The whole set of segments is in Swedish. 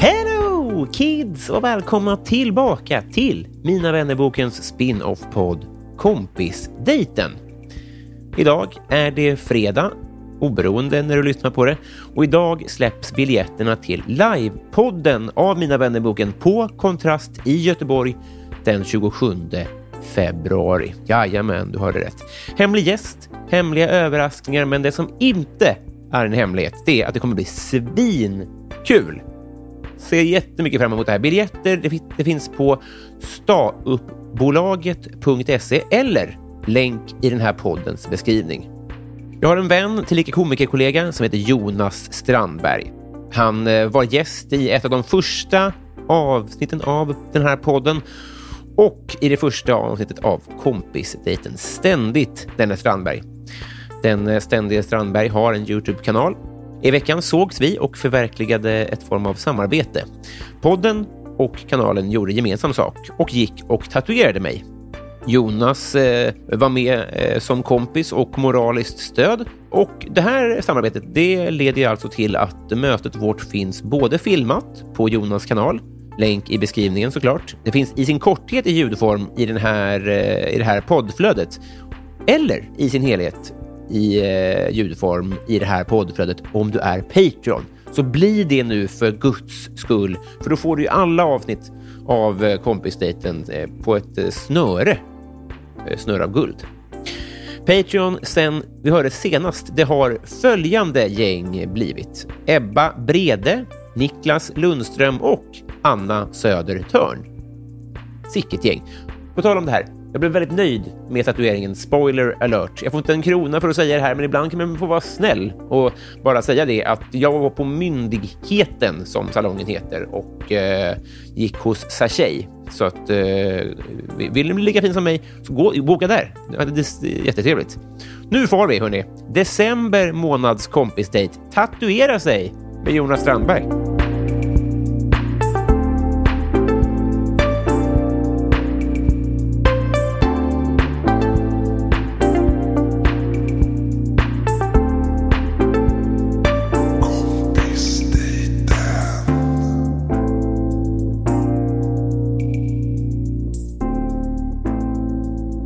Hello kids och välkomna tillbaka till Mina vännerbokens spin-off-podd Kompisdejten. Idag är det fredag, oberoende när du lyssnar på det. Och idag släpps biljetterna till livepodden av Mina vännerboken på Kontrast i Göteborg den 27 februari. Jajamän, du hörde rätt. Hemlig gäst, hemliga överraskningar, men det som inte är en hemlighet, det är att det kommer bli svinkul ser jättemycket fram emot det här. Biljetter det, fin- det finns på stauppbolaget.se eller länk i den här poddens beskrivning. Jag har en vän, tillika komikerkollega, som heter Jonas Strandberg. Han eh, var gäst i ett av de första avsnitten av den här podden och i det första avsnittet av Kompisdejten Ständigt, denne Strandberg. Den eh, ständige Strandberg har en Youtube-kanal. I veckan sågs vi och förverkligade ett form av samarbete. Podden och kanalen gjorde gemensam sak och gick och tatuerade mig. Jonas eh, var med eh, som kompis och moraliskt stöd. Och det här samarbetet det leder alltså till att mötet vårt finns både filmat på Jonas kanal, länk i beskrivningen såklart. Det finns i sin korthet i ljudform i, den här, eh, i det här poddflödet eller i sin helhet i eh, ljudform i det här poddflödet om du är Patreon. Så bli det nu för guds skull, för då får du ju alla avsnitt av eh, kompisdejten eh, på ett eh, snöre, eh, snöre av guld. Patreon sen vi hörde senast, det har följande gäng blivit. Ebba Brede, Niklas Lundström och Anna Söder Törn. Sicket gäng. På tal om det här, jag blev väldigt nöjd med tatueringen Spoiler alert. Jag får inte en krona för att säga det här, men ibland kan man få vara snäll och bara säga det att jag var på Myndigheten, som salongen heter, och eh, gick hos Sachet. Så att eh, vill ni bli lika fin som mig, så gå, boka där. Ja, Det är jättetrevligt. Nu får vi, hörni. December månads kompisdejt. Tatuera sig med Jonas Strandberg.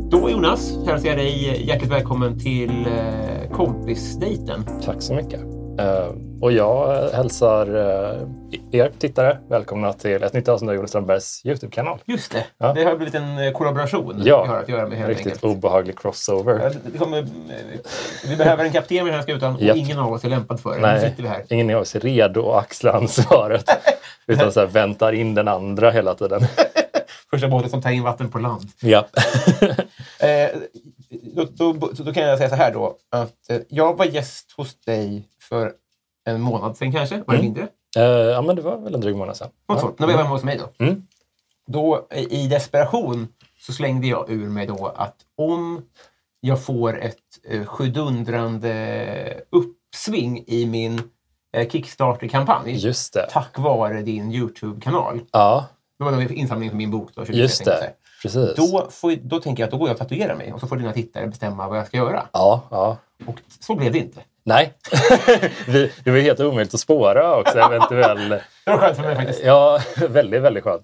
Då Jonas hälsar jag dig hjärtligt välkommen till eh, kompisdejten. Tack så mycket. Eh, och jag eh, hälsar eh, er tittare välkomna till ett nytt avsnitt av Jonas Strandbergs YouTube-kanal. Just det. Ja. Det har blivit en eh, kollaboration vi har att göra med helt riktigt enkelt. obehaglig Ja, crossover. det- det kommer, eh, vi behöver en kapten med den här skutan och Japp. ingen av oss är lämpad för det. Nu Nej, sitter vi här. ingen av oss är redo att axla ansvaret utan så här, väntar in den andra hela tiden. Första båten som tar in vatten på land. ja. Eh, då, då, då, då kan jag säga så här då. Att, eh, jag var gäst hos dig för en månad sedan kanske, var det Mm. mindre? Eh, ja, men det var väl en dryg månad sedan. Något Ja. sånt. När vi var hemma hos mig då. Mm. Då eh, i desperation så slängde jag ur mig då att om jag får ett eh, sjudundrande uppsving i min eh, Kickstarter-kampanj Just det. tack vare din YouTube-kanal. Ja, Det var då insamlingen för min bok. Då, 2016, just så det. här. Precis. Då, får, då tänker jag att då går jag och tatuerar mig och så får dina tittare bestämma vad jag ska göra. Ja, ja. Och så blev det inte. Nej, Vi- det var helt omöjligt att spåra också eventuell... Det var skönt för mig faktiskt. Ja, väldigt, väldigt skönt.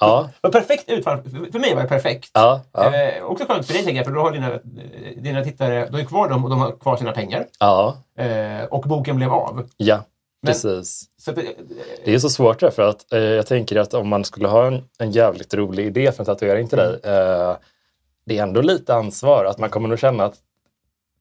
Ja, Det var perfekt utfall. För mig var det perfekt. ja, ja. Eh, också skönt för dig, tänker jag, för då har dina, eh, dina tittare de är kvar dem och de har kvar sina pengar. ja, Eh, och boken blev av. ja Men- precis. Så att, eh, Det är så svårt därför att eh, jag tänker att om man skulle ha en, en jävligt rolig idé för en tatuering till dig, Mm. eh, det är ändå lite ansvar att man kommer att känna att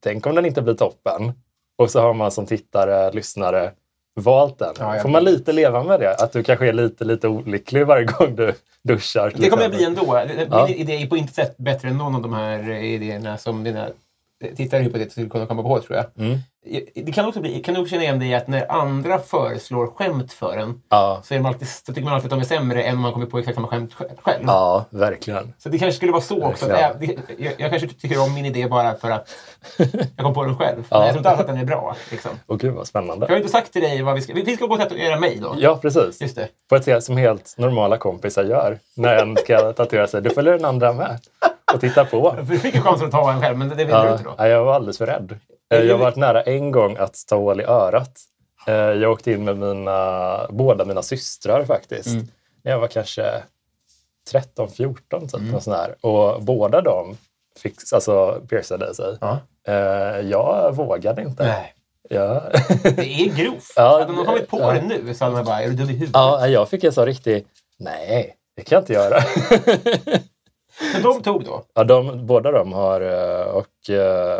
tänk om den inte blir toppen. Och så har man som tittare, lyssnare valt den. Ja, jag Får man lite leva med det? Att du kanske är lite, lite olycklig varje gång du duschar. till det kommer jag exempel. bli ändå. Ja. Min idé är på inte sätt bättre än någon av de här eh, idéerna som dina eh, tittare hypotetiskt skulle kunna komma på, tror jag. Eh, Mm. Det kan också bli, kan du också känna igen dig i att när andra föreslår skämt för en Ja, så, är de alltid, så tycker man alltid att de är sämre än om man kommer på exakt samma skämt sj- själv. ja, verkligen. Så det kanske skulle vara så också. Att jag, det- jag, jag kanske tycker om min idé bara för att jag kom på den själv. Men jag tror inte alls att den är bra. Liksom. Och gud vad Jag har spännande. ju inte sagt till dig vad vi ska... Vi vi ska gå och tatuera mig då. Ja, precis. Just det. På ett sätt som helt normala kompisar gör när en ska tatuera sig. Du följer den andra med och tittar på. För Du fick ju chansen att ta en själv, men det ville du Ja, inte då. ja, jag var alldeles för rädd. Eh, Jag har varit nära en gång att ta hål i örat. Eh, Jag åkte in med mina, båda mina systrar faktiskt. När jag var kanske 13-14 typ. något sånt där. Och båda de fick, alltså, piercade sig. Ja. Eh, Jag vågade inte. Nej. Jag, Det är grovt. Ja, hade någon kommit på ja. det nu så hade man bara, är du dum i huvudet? ja, jag fick en sån riktig, nej, det kan jag inte göra. Men de tog då. Ja, de, båda de har... eh, Och, eh,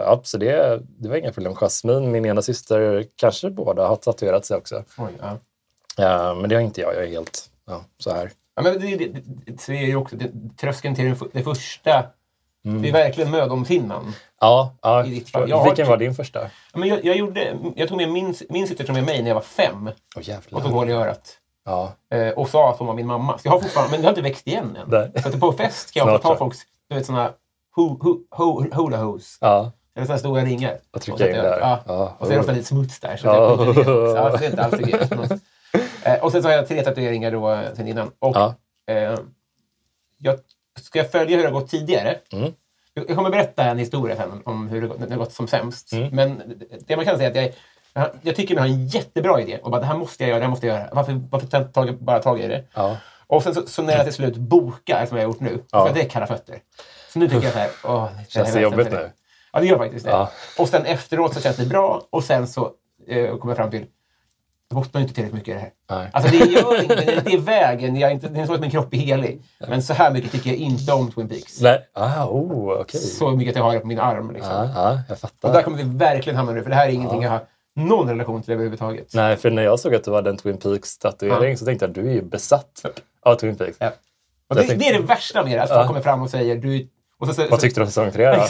ja, så det, det var inga problem. Jasmine, min ena syster, kanske båda har tatuerat sig också. Oj, ja. Eh, Men det har inte jag. Jag är helt ja, så här. Ja, men det, det, det, så är det ju också det, tröskeln till det, fu- det första. Mm. Det är verkligen mödomshinnan. Ja, ja. I ditt fall. Jag har- typ- Vilken var din första? Ja, Men jag, jag, gjorde, jag tog med min, min syster tog med mig när jag var fem Åh, jävlar. och tog hål i örat. Ja, Eh, och sa att hon var min mamma. Så jag har fortfarande, men det har inte växt igen än. Nej. Så att på fest kan jag Snart få ta så. folks, du vet sådana ho, ho, ho, hula hos. ja. Eller sådana stora ringar. Och trycka sätter in jag- där. Ja. Ja. Och så är det ofta lite smuts där. Så, att jag Ja. skiter i det. så alltså, det är inte alls hygienisk. eh, Och sen så har jag tre tatueringar då eh, sen innan. Och, Ja. eh, jag, ska jag följa hur det har gått tidigare? Mm. Jag jag kommer berätta en historia sen om hur det gått, när det har gått som sämst. Mm. Men det man kan säga är att jag, jag- jag tycker mig ha en jättebra idé och bara det här måste jag göra, det här måste jag göra. Varför, varför tar jag inte tag- bara tag i det? ja. Och sen så, så när jag till slut bokar, som jag har gjort nu, så Ja. får jag direkt kalla fötter. Så nu tycker jag så här, åh, det Känns det här- jobbigt nu? Ja, det gör faktiskt det. Ja. Och sen efteråt så känns det bra och sen så eh, kommer jag fram till, jag bottnar ju inte tillräckligt mycket i det här. Nej. Alltså det gör ingenting, det är vägen, jag är inte, det är så att min kropp är helig. Men så här mycket tycker jag inte om Twin Peaks. Nej. Ah, oh, okej. Så mycket att jag har det på min arm. Liksom. Ja, ja, jag Och där fattar. kommer vi verkligen hamna nu, för det här är ingenting jag har någon relation till överhuvudtaget. Nej, för när jag såg att du hade en Twin Peaks-tatuering så tänkte jag du är ju besatt av Twin Peaks. Ja. Och Jag det, tänkte- det är det värsta med det, att folk kommer fram och säger, du... är- Och så, så, Vad så, tyckte du om säsong tre då?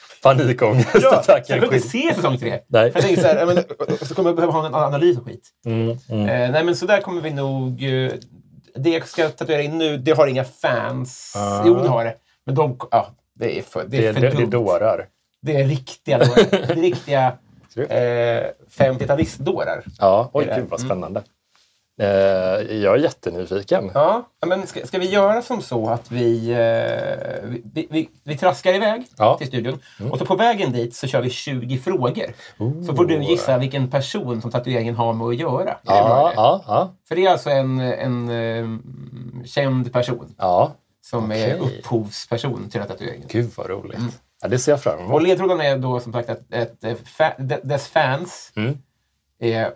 Ja, så jag Panikångestattacken. kunde inte skit. se säsong tre. Nej. För jag tänkte så här, ja, men, och så kommer jag behöva ha en analys och skit. Mm, mm. Eh, nej, men så där kommer vi nog... Eh, det jag ska tatuera in nu, det har inga fans. Ah. Jo, det har det. Men de... Ja, det är för, det är Det, för det, det är dumt. dårar. Det är riktiga dårar. Det är riktiga Trevligt. eh, 50-talistdårar. Ja, oj Är det? Mm. gud vad spännande. Eh, jag är jättenyfiken. Ja, men ska, ska vi göra som så att vi, eh, vi- vi, vi, vi traskar iväg Ja. Mm. till studion och så på vägen dit så kör vi 20 frågor. Så får du gissa vilken person som tatueringen har med att göra. Är det bra, Ja, eller? ja, ja. För det är alltså en, en eh, känd person ja. som är Okej. upphovsperson till den här tatueringen. Gud vad roligt. Mm. Ja, det ser jag fram Och emot. ledtråden är då som sagt att ett, eh, fa- de- dess fans Mm. är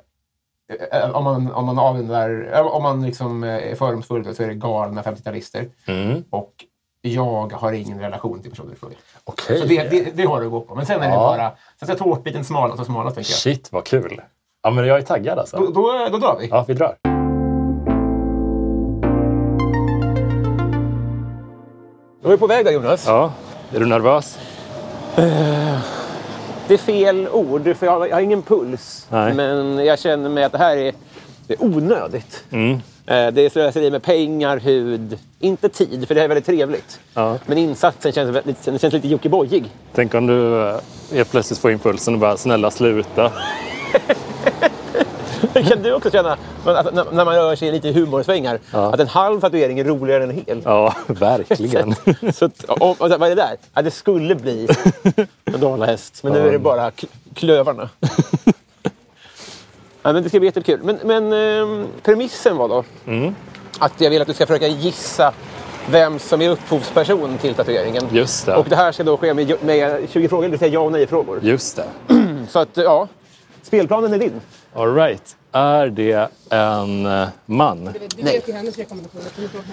eh, om man, om man avundar, eh, om man liksom eh, är fördomsfull då, så är det galna 50-talister. Mm. Och jag har ingen relation till personen i fråga. Okej. Så det, det, det har du att gå på. Men sen är det Ja. bara... Sen ska tårtbiten smalas och smalas, tänker jag. Shit vad kul. Ja, men jag är taggad Då, alltså. då, då drar vi. Ja, vi drar. Då är vi på väg där, Jonas. Ja, är du nervös? Det är fel ord, för jag har, jag har ingen puls. Nej. Men jag känner mig att det här är, det är onödigt. Mm. Eh, Det är slöseri med pengar, hud, inte tid, för det här är väldigt trevligt. Ja. Men insatsen känns, väldigt, den känns lite jockibojig. Tänk om du eh, helt plötsligt får impulsen och bara snälla sluta. Det kan du också känna men att, när, när man rör sig lite i humorsvängar. Ja. Att en halv tatuering är roligare än en hel. Ja, verkligen. Så att, och, och, vad är det där? Ja, det skulle bli en dalahäst, men nu är det bara k- klövarna. ja, men det ska bli jättekul. Men, men ehm, premissen var då Mm. att jag vill att du ska försöka gissa vem som är upphovsperson till tatueringen. Just det. Och det här ska då ske med, med 20 frågor, det vill säga ja och nej-frågor. Just det. Så att, ja, spelplanen är din. All right. Är det en eh, man? Du vet ju hennes rekommendationer. Kom inte ihåg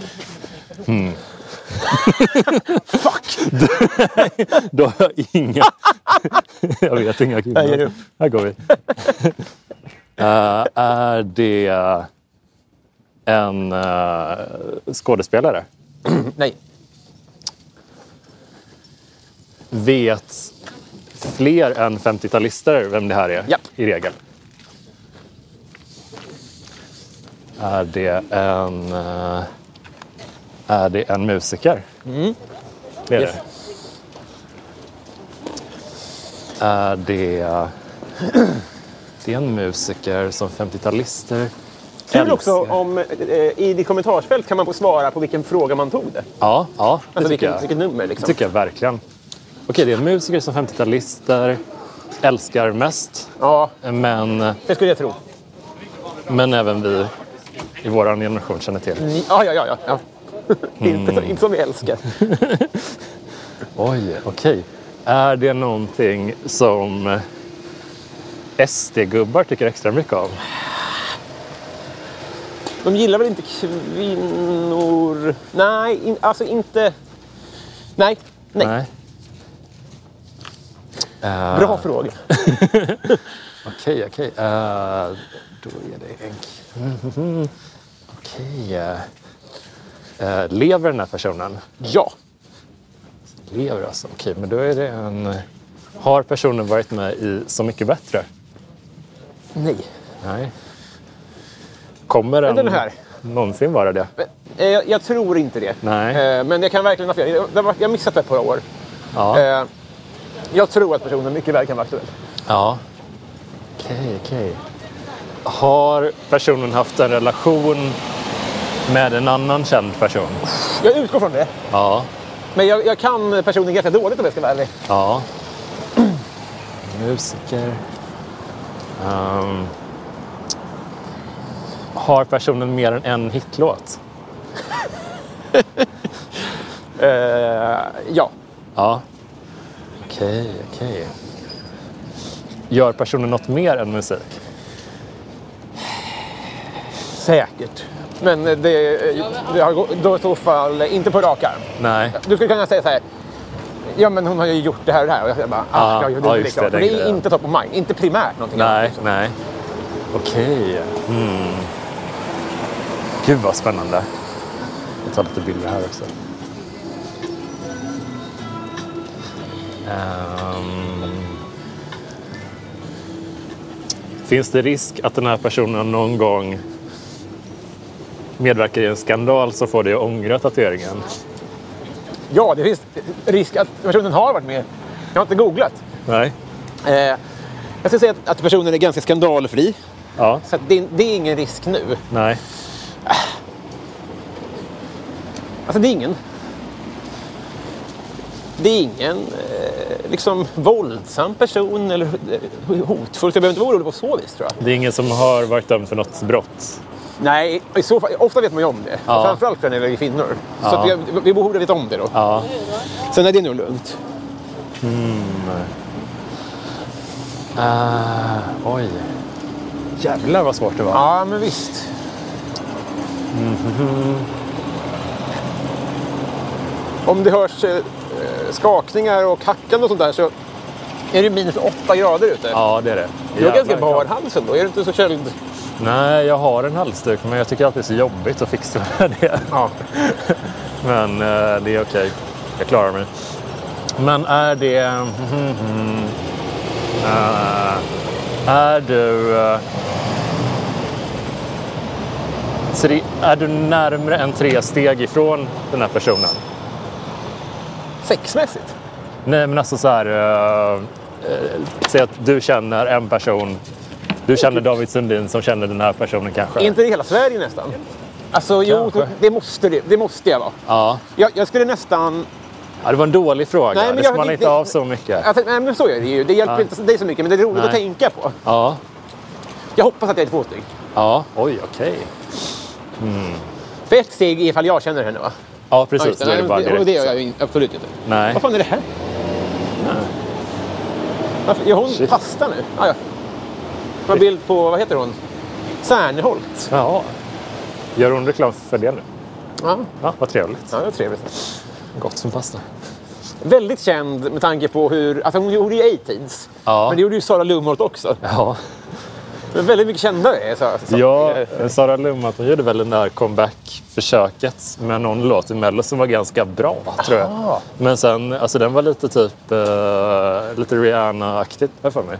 hennes Då har jag inga... jag vet inga kvinnor. Jag ger upp. Här går vi. Eh, är det en eh, skådespelare? Nej. Vet fler än 50-talister vem det här är? Ja. I regel. Är det en... eh, Är det en musiker? Det är Mm. Yes. det. Är det... Det är en musiker som 50-talister Kul också älskar. om, eh, i ditt kommentarsfält kan man få svara på vilken fråga man tog det. Ja, ja det Alltså tycker vilken, jag. vilket nummer liksom. Det tycker jag verkligen. Okej, det är en musiker som 50-talister älskar mest. Ja, Men, det skulle jag tro. men även vi i vår generation känner till. Ja, ja, ja. ja, ja. Mm. inte, som- inte som vi älskar. Oj, okej. Är det någonting som SD-gubbar tycker extra mycket om? De gillar väl inte kvinnor? Nej, in, alltså inte... Nej, nej. Ah. Bra fråga. Okej, okej. Eh, då är det en... k- Okej. eh, lever den här personen? Ja. Lever alltså. Okej, men då är det en... Har personen varit med i Så mycket bättre? Nej. Nej. Kommer den, den här? någonsin vara det? Men, eh, jag, jag tror inte det. Nej. Eh, men jag kan verkligen ha fel. Jag- Jag har missat det ett par år. Ja. Eh, jag tror att personen mycket väl kan vara aktuell. ja. Okej, okej. Har personen haft en relation med en annan känd person? Jag utgår från det. Ja. Men jag, jag kan personen ganska dåligt om jag ska vara ärlig. Ja. Musiker. Ehm. har personen mer än en hitlåt? Eh, ja. Ja. Okej, okej. Gör personen något mer än musik? Säkert. Men eh, det, eh, det har gå- då i så fall eh, inte på rak arm. Nej. Du skulle kunna säga så här. Ja, men hon har ju gjort det här och det här. Och jag säger bara, ah, ja, Ja, ja, det, är just det, klart. det det, det grejen. är inte top of mind. Inte primärt någonting. Nej, nej. Okej. Mm. Gud vad spännande. Jag tar lite bilder här också. Ehm. Finns det risk att den här personen någon gång medverkar i en skandal så får det att ångra tatueringen? Ja, det finns risk att personen har varit med. Jag har inte googlat. Nej. Eh, jag ska säga att, att personen är ganska skandalfri. Ja. Så att det, det är ingen risk nu. Nej. Alltså det är ingen. Det är ingen eh, liksom våldsam person eller eh, hotfull. Så jag behöver inte vara orolig på så vis tror jag. Det är ingen som har varit dömd för något brott? Nej, i så fall, ofta vet man ju om det. Ja. Framförallt när det gäller kvinnor. Så Ja. att vi, vi borde veta om det då. Ja. Sen är det nog lugnt. Oj. Jävlar vad svårt det var. Ja, men visst. Mm-hmm. Om det hörs eh, skakningar och hackande och sånt där så är det minus åtta grader ute. Ja, det är det. Du har ganska Jävlar, bar klart. hals ändå. Är du inte så köld? Nej, jag har en halsduk, men jag tycker alltid det är så jobbigt att fixa med det. Ja. Men eh, det är okej. Jag klarar mig. Men är det... mhm, mhm. Eh, är du... eh, tre, är du närmre än tre steg ifrån den här personen? Sexmässigt? Nej, men alltså så här... eh, eh, säg att du känner en person Du känner David Sundin som känner den här personen kanske? Är inte det hela Sverige nästan? Alltså, jo, Kanske. det måste det. Det måste jag vara. Ja. Jag, jag skulle nästan... ja, det var en dålig fråga. Nej, men det jag- smalnar det- inte det- av så mycket. Alltså, nej, men så är det ju. Det hjälper Ja. inte dig så mycket, men det är roligt Nej. att tänka på. Ja. Jag hoppas att jag är två steg. ja. Oj, okej. För ett steg är ifall jag känner henne, va? Ja, Ja, just precis. det. Då är det bara Nej, och det gör direkt. jag ju in- absolut inte. Nej. Vad fan är det här? Varför gör hon Shit. pasta nu? Ah, ja. Det var en bild på, vad heter hon? Särnholt. Ja. Gör hon reklam för det nu? Ja, Ja, vad trevligt. ja det var trevligt. Gott som pasta. Väldigt känd med tanke på hur... Alltså hon gjorde ju A-Tids. Ja. Men det gjorde ju Sara Lumholt också. Ja. Men väldigt mycket kändare är Sara. Sara- Ja, Sara Lumholt hon gjorde väl den där comeback-försöket med någon låt i Mello som var ganska bra, tror jag. Men sen, alltså den var lite typ, eh, lite Rihanna-aktigt, har jag för mig.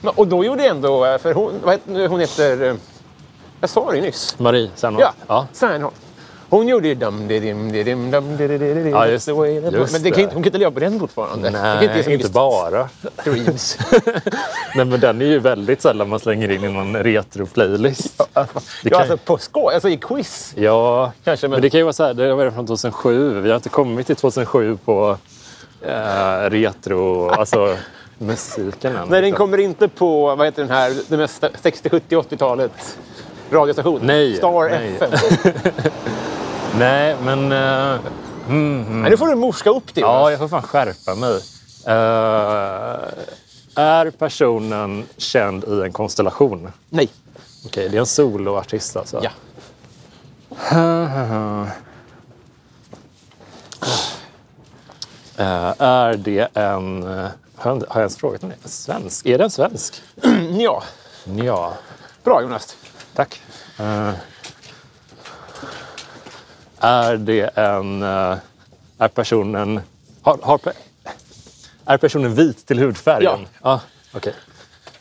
Men- Och då gjorde jag ändå... eh, För hon, vad heter, hon heter... eh, Jag sa det ju nyss. Marie Serneholt. Ja, Särnholt. Hon gjorde ju dum di dim di dim dum di di di di Ja, just- That's the way that- just Men det kan, det. ju inte- hon kan inte leva på den fortfarande. Hon kan liksom Nej, ge så inte, mycket bara. streams. Nej, men den är ju väldigt sällan man slänger in i någon retro-playlist. Det Ja, kan- alltså på skoj, alltså i quiz. Ja, Kanske, men- men... det kan ju vara så här, det var redan från 2007. Vi har inte kommit till 2007 på eh, retro, alltså musiken än. Nej, den liksom. kommer inte på, vad heter den här, det mesta 60, 70, 80-talet radiostation. Nej, Star nej. Mm. FM. Nej, men... eh, mm, mm. Nej, nu får du morska upp det. Ja, jag Jonas. får fan skärpa mig. Eh, är personen känd i en konstellation? Nej. Okej, det är en soloartist alltså? Ja. Eh, är det en... eh, Har jag, har jag ens frågat om det? En svensk? Är det en svensk? Mm, ja. Ja. Bra Jonas. Tack. Eh, är det en... eh, är personen... Har, har, pe- är personen vit till hudfärgen? Ja. Okej.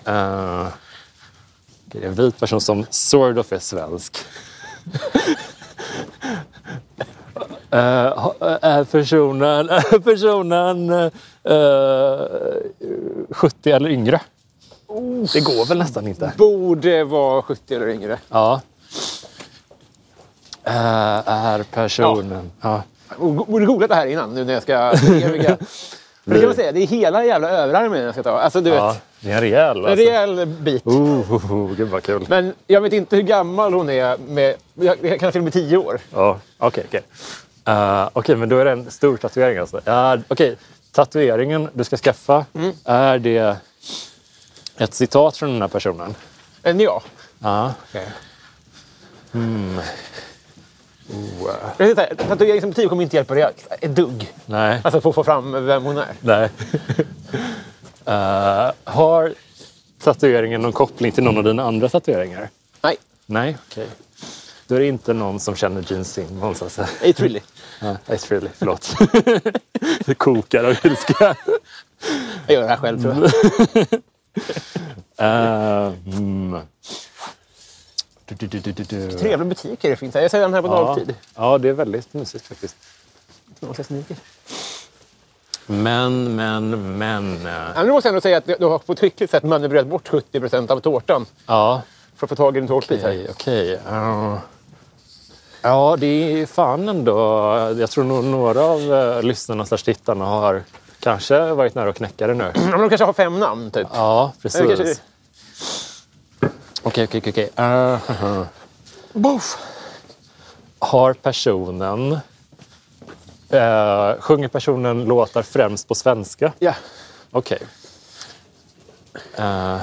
Eh, det är en vit person som sort of är svensk. Eh, ha- är personen, är personen eh, 70 eller yngre? Det går väl nästan inte? Borde vara 70 eller yngre. Ja. Eh, är personen... Ja. Och Borde googlat det här innan nu när jag ska se vilka... För det kan man säga, det är hela jävla överarmen jag ska ta. Alltså du Ja. vet, Det är en rejäl... en Alltså. rejäl bit. Oh, oh, oh, gud vad kul. Men jag vet inte hur gammal hon är. Med, jag, jag kan filma i tio år. Ja, Okej, okej. Eh, Okej, men då är det en stor tatuering alltså. Ja, okej, tatueringen du ska skaffa, är det ett citat från den här personen? Än jag. Ja. Oh, äh. Jag säger så här, Tatuering som motiv kommer inte hjälpa dig alls. ett dugg. Nej. Alltså för att få fram vem hon är. Nej. Eh, har tatueringen någon koppling till någon av dina andra tatueringar? Nej, Nej, okej. Då är det inte någon som känner Gene Simmons alltså. Ej Trilly. Ja, Ace Frehley, förlåt. det kokar av ilska. Jag gör det här själv tror jag. Eh, mm. Du, du, du, du, du, du. Trevliga butiker det finns här. Jag ser den här på Ja, dagtid. ja, det är väldigt mysigt faktiskt. Någon slags sneaker. Men, men, men. eh, Ja, Nu måste jag ändå säga att du har på ett skickligt sätt manövrerat bort 70 av tårtan Ja, för att få tag i din tårtbit här. okej. okej. Eh, Ja, det är fan ändå. Jag tror nog några av eh, lyssnarna slash tittarna har kanske varit nära att knäcka det nu. Ja, Men de kanske har fem namn typ. Ja, Eller kanske- precis. Okej, okej, okej, okej. Eh, Boff! Har personen... Eh, sjunger personen låtar främst på svenska? Ja. Okej. Eh,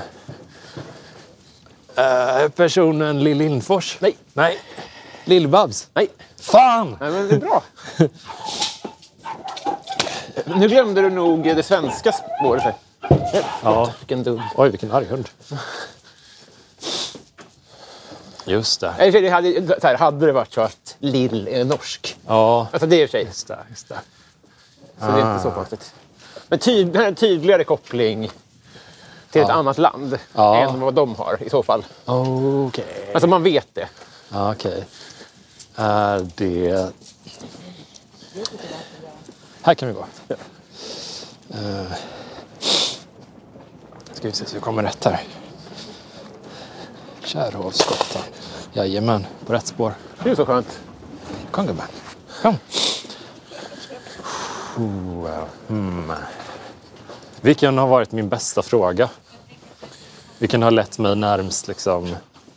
eh, personen Lill Lindfors? Nej. Nej. Lill-Babs? Nej. Fan! Nej, men det är bra. nu glömde du nog det svenska spåret. här. Ja. Vilken dum. Oj, vilken arg hund. Just det. Nej, i och för sig, Det hade, så här, hade det varit så att Lill är norsk. Ja, Alltså det är i och för sig. just det. Just det. Så det är inte Ah. så konstigt. Men tyd, här är en tydligare koppling till ett annat land Ja. än vad de har i så fall. Okej. Alltså man vet det. Ja, Okej. Är det... Här kan vi gå. Eh, Ja. ska vi se så vi kommer rätt här. Kärrhovsgatan. Jajamän, på rätt spår. Det är så skönt. Kom gubben. Kom. hmm. Vilken har varit min bästa fråga? Vilken har lett mig närmst liksom?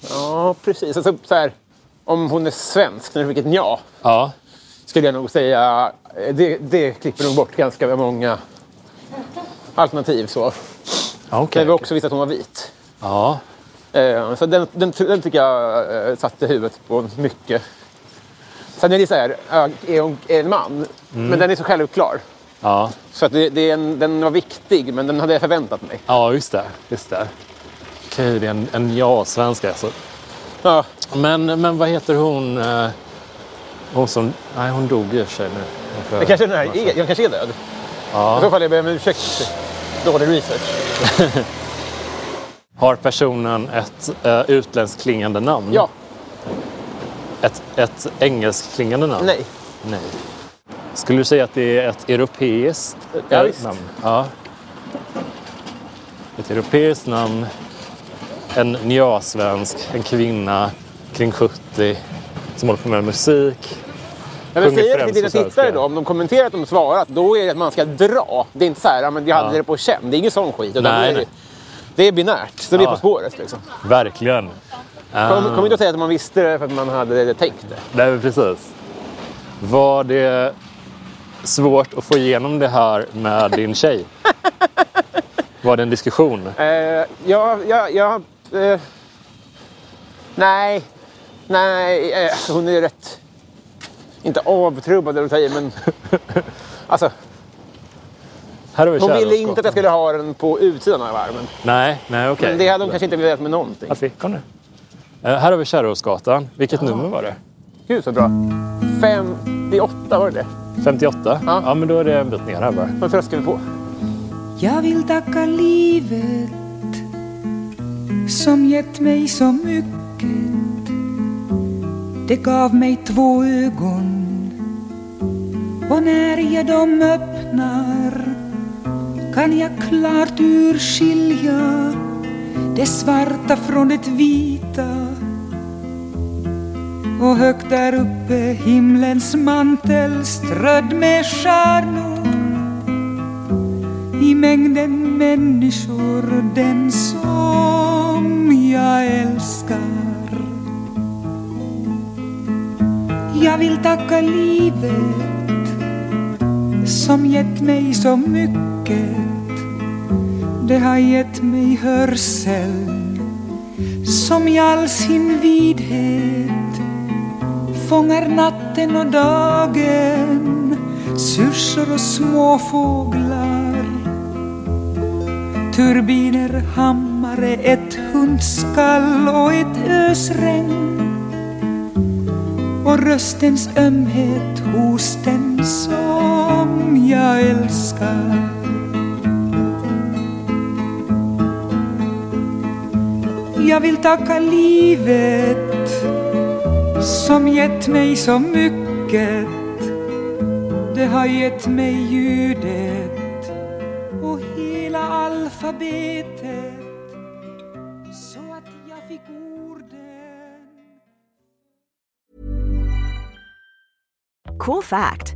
Ja, precis. Alltså, så här, om hon är svensk, när du fick ett ja, Ja, skulle jag nog säga... eh, Det, det klipper nog bort ganska många alternativ. Så. okej. Men vi har också visat att hon var vit. Ja, Eh, Så den, den, den tycker jag eh, satte huvudet på mycket. Sen är det så här, eh, är hon en man? Men den är så självklar. ja, Så att det, det är en, den var viktig, men den hade jag förväntat mig. ja just det. Just det. Okej, det är en, en ja-svenska alltså. Ja, Men, men vad heter hon? eh, Hon som... Nej, hon dog i och för sig nu. det kanske den här är, den kanske är död. I så fall jag ber om ursäkt. Dålig research. Har personen ett eh, utländskt klingande namn? Ja, Ett, ett engelskt klingande namn? nej. Nej. Skulle du säga att det är ett europeiskt Ja, eh, visst. namn? Ja. Ett europeiskt namn. En nja-svensk, en kvinna kring 70 som håller på med musik. Men jag Sjunger säger till främst dina på svenska. tittare då, om de kommenterar att de svarat, då är det att man ska dra. Det är inte så här, "Ja, men jag hade det på känn. Det är ingen sån skit. utan Nej, det, är, nej. det är binärt, så det är Ja. På spåret. Liksom. Verkligen. Kom, kom inte och säga att man visste det för att man hade tänkt det. Nej, men precis. Var det svårt att få igenom det här med din tjej? Var det en diskussion? Eh, ja, ja, ja. Eh, nej, nej. Eh, alltså, hon är ju rätt... Inte avtrubbad eller vad jag säger, men... Alltså, Här har vi hon ville kärleksgatan. inte att jag skulle ha den på utsidan av armen. Nej, nej okej. Men det hade hon kanske inte velat med någonting. Att vi- kom nu. Eh, här har vi Kärrhovsgatan. Vilket nummer var det? Gud så bra. 58 var det det? 58? Ja. men då är det en bit ner här bara. Vad tröskar vi på? Jag vill tacka livet som gett mig så mycket. Det gav mig två ögon och när jag dem öppnar kan jag klart urskilja det svarta från det vita. Och högt där uppe himlens mantel strödd med stjärnor i mängden människor den som jag älskar. Jag vill tacka livet som gett mig så mycket. Det har gett mig hörsel som i all sin vidhet fångar natten och dagen, syrsor och småfåglar. Turbiner, hammare, ett hundskall och ett ösregn och röstens ömhet hos den som jag älskar. Jag vill tacka livet som gett mig så mycket. Det har gett mig ljudet och hela alfabetet så att jag fick orden Cool fact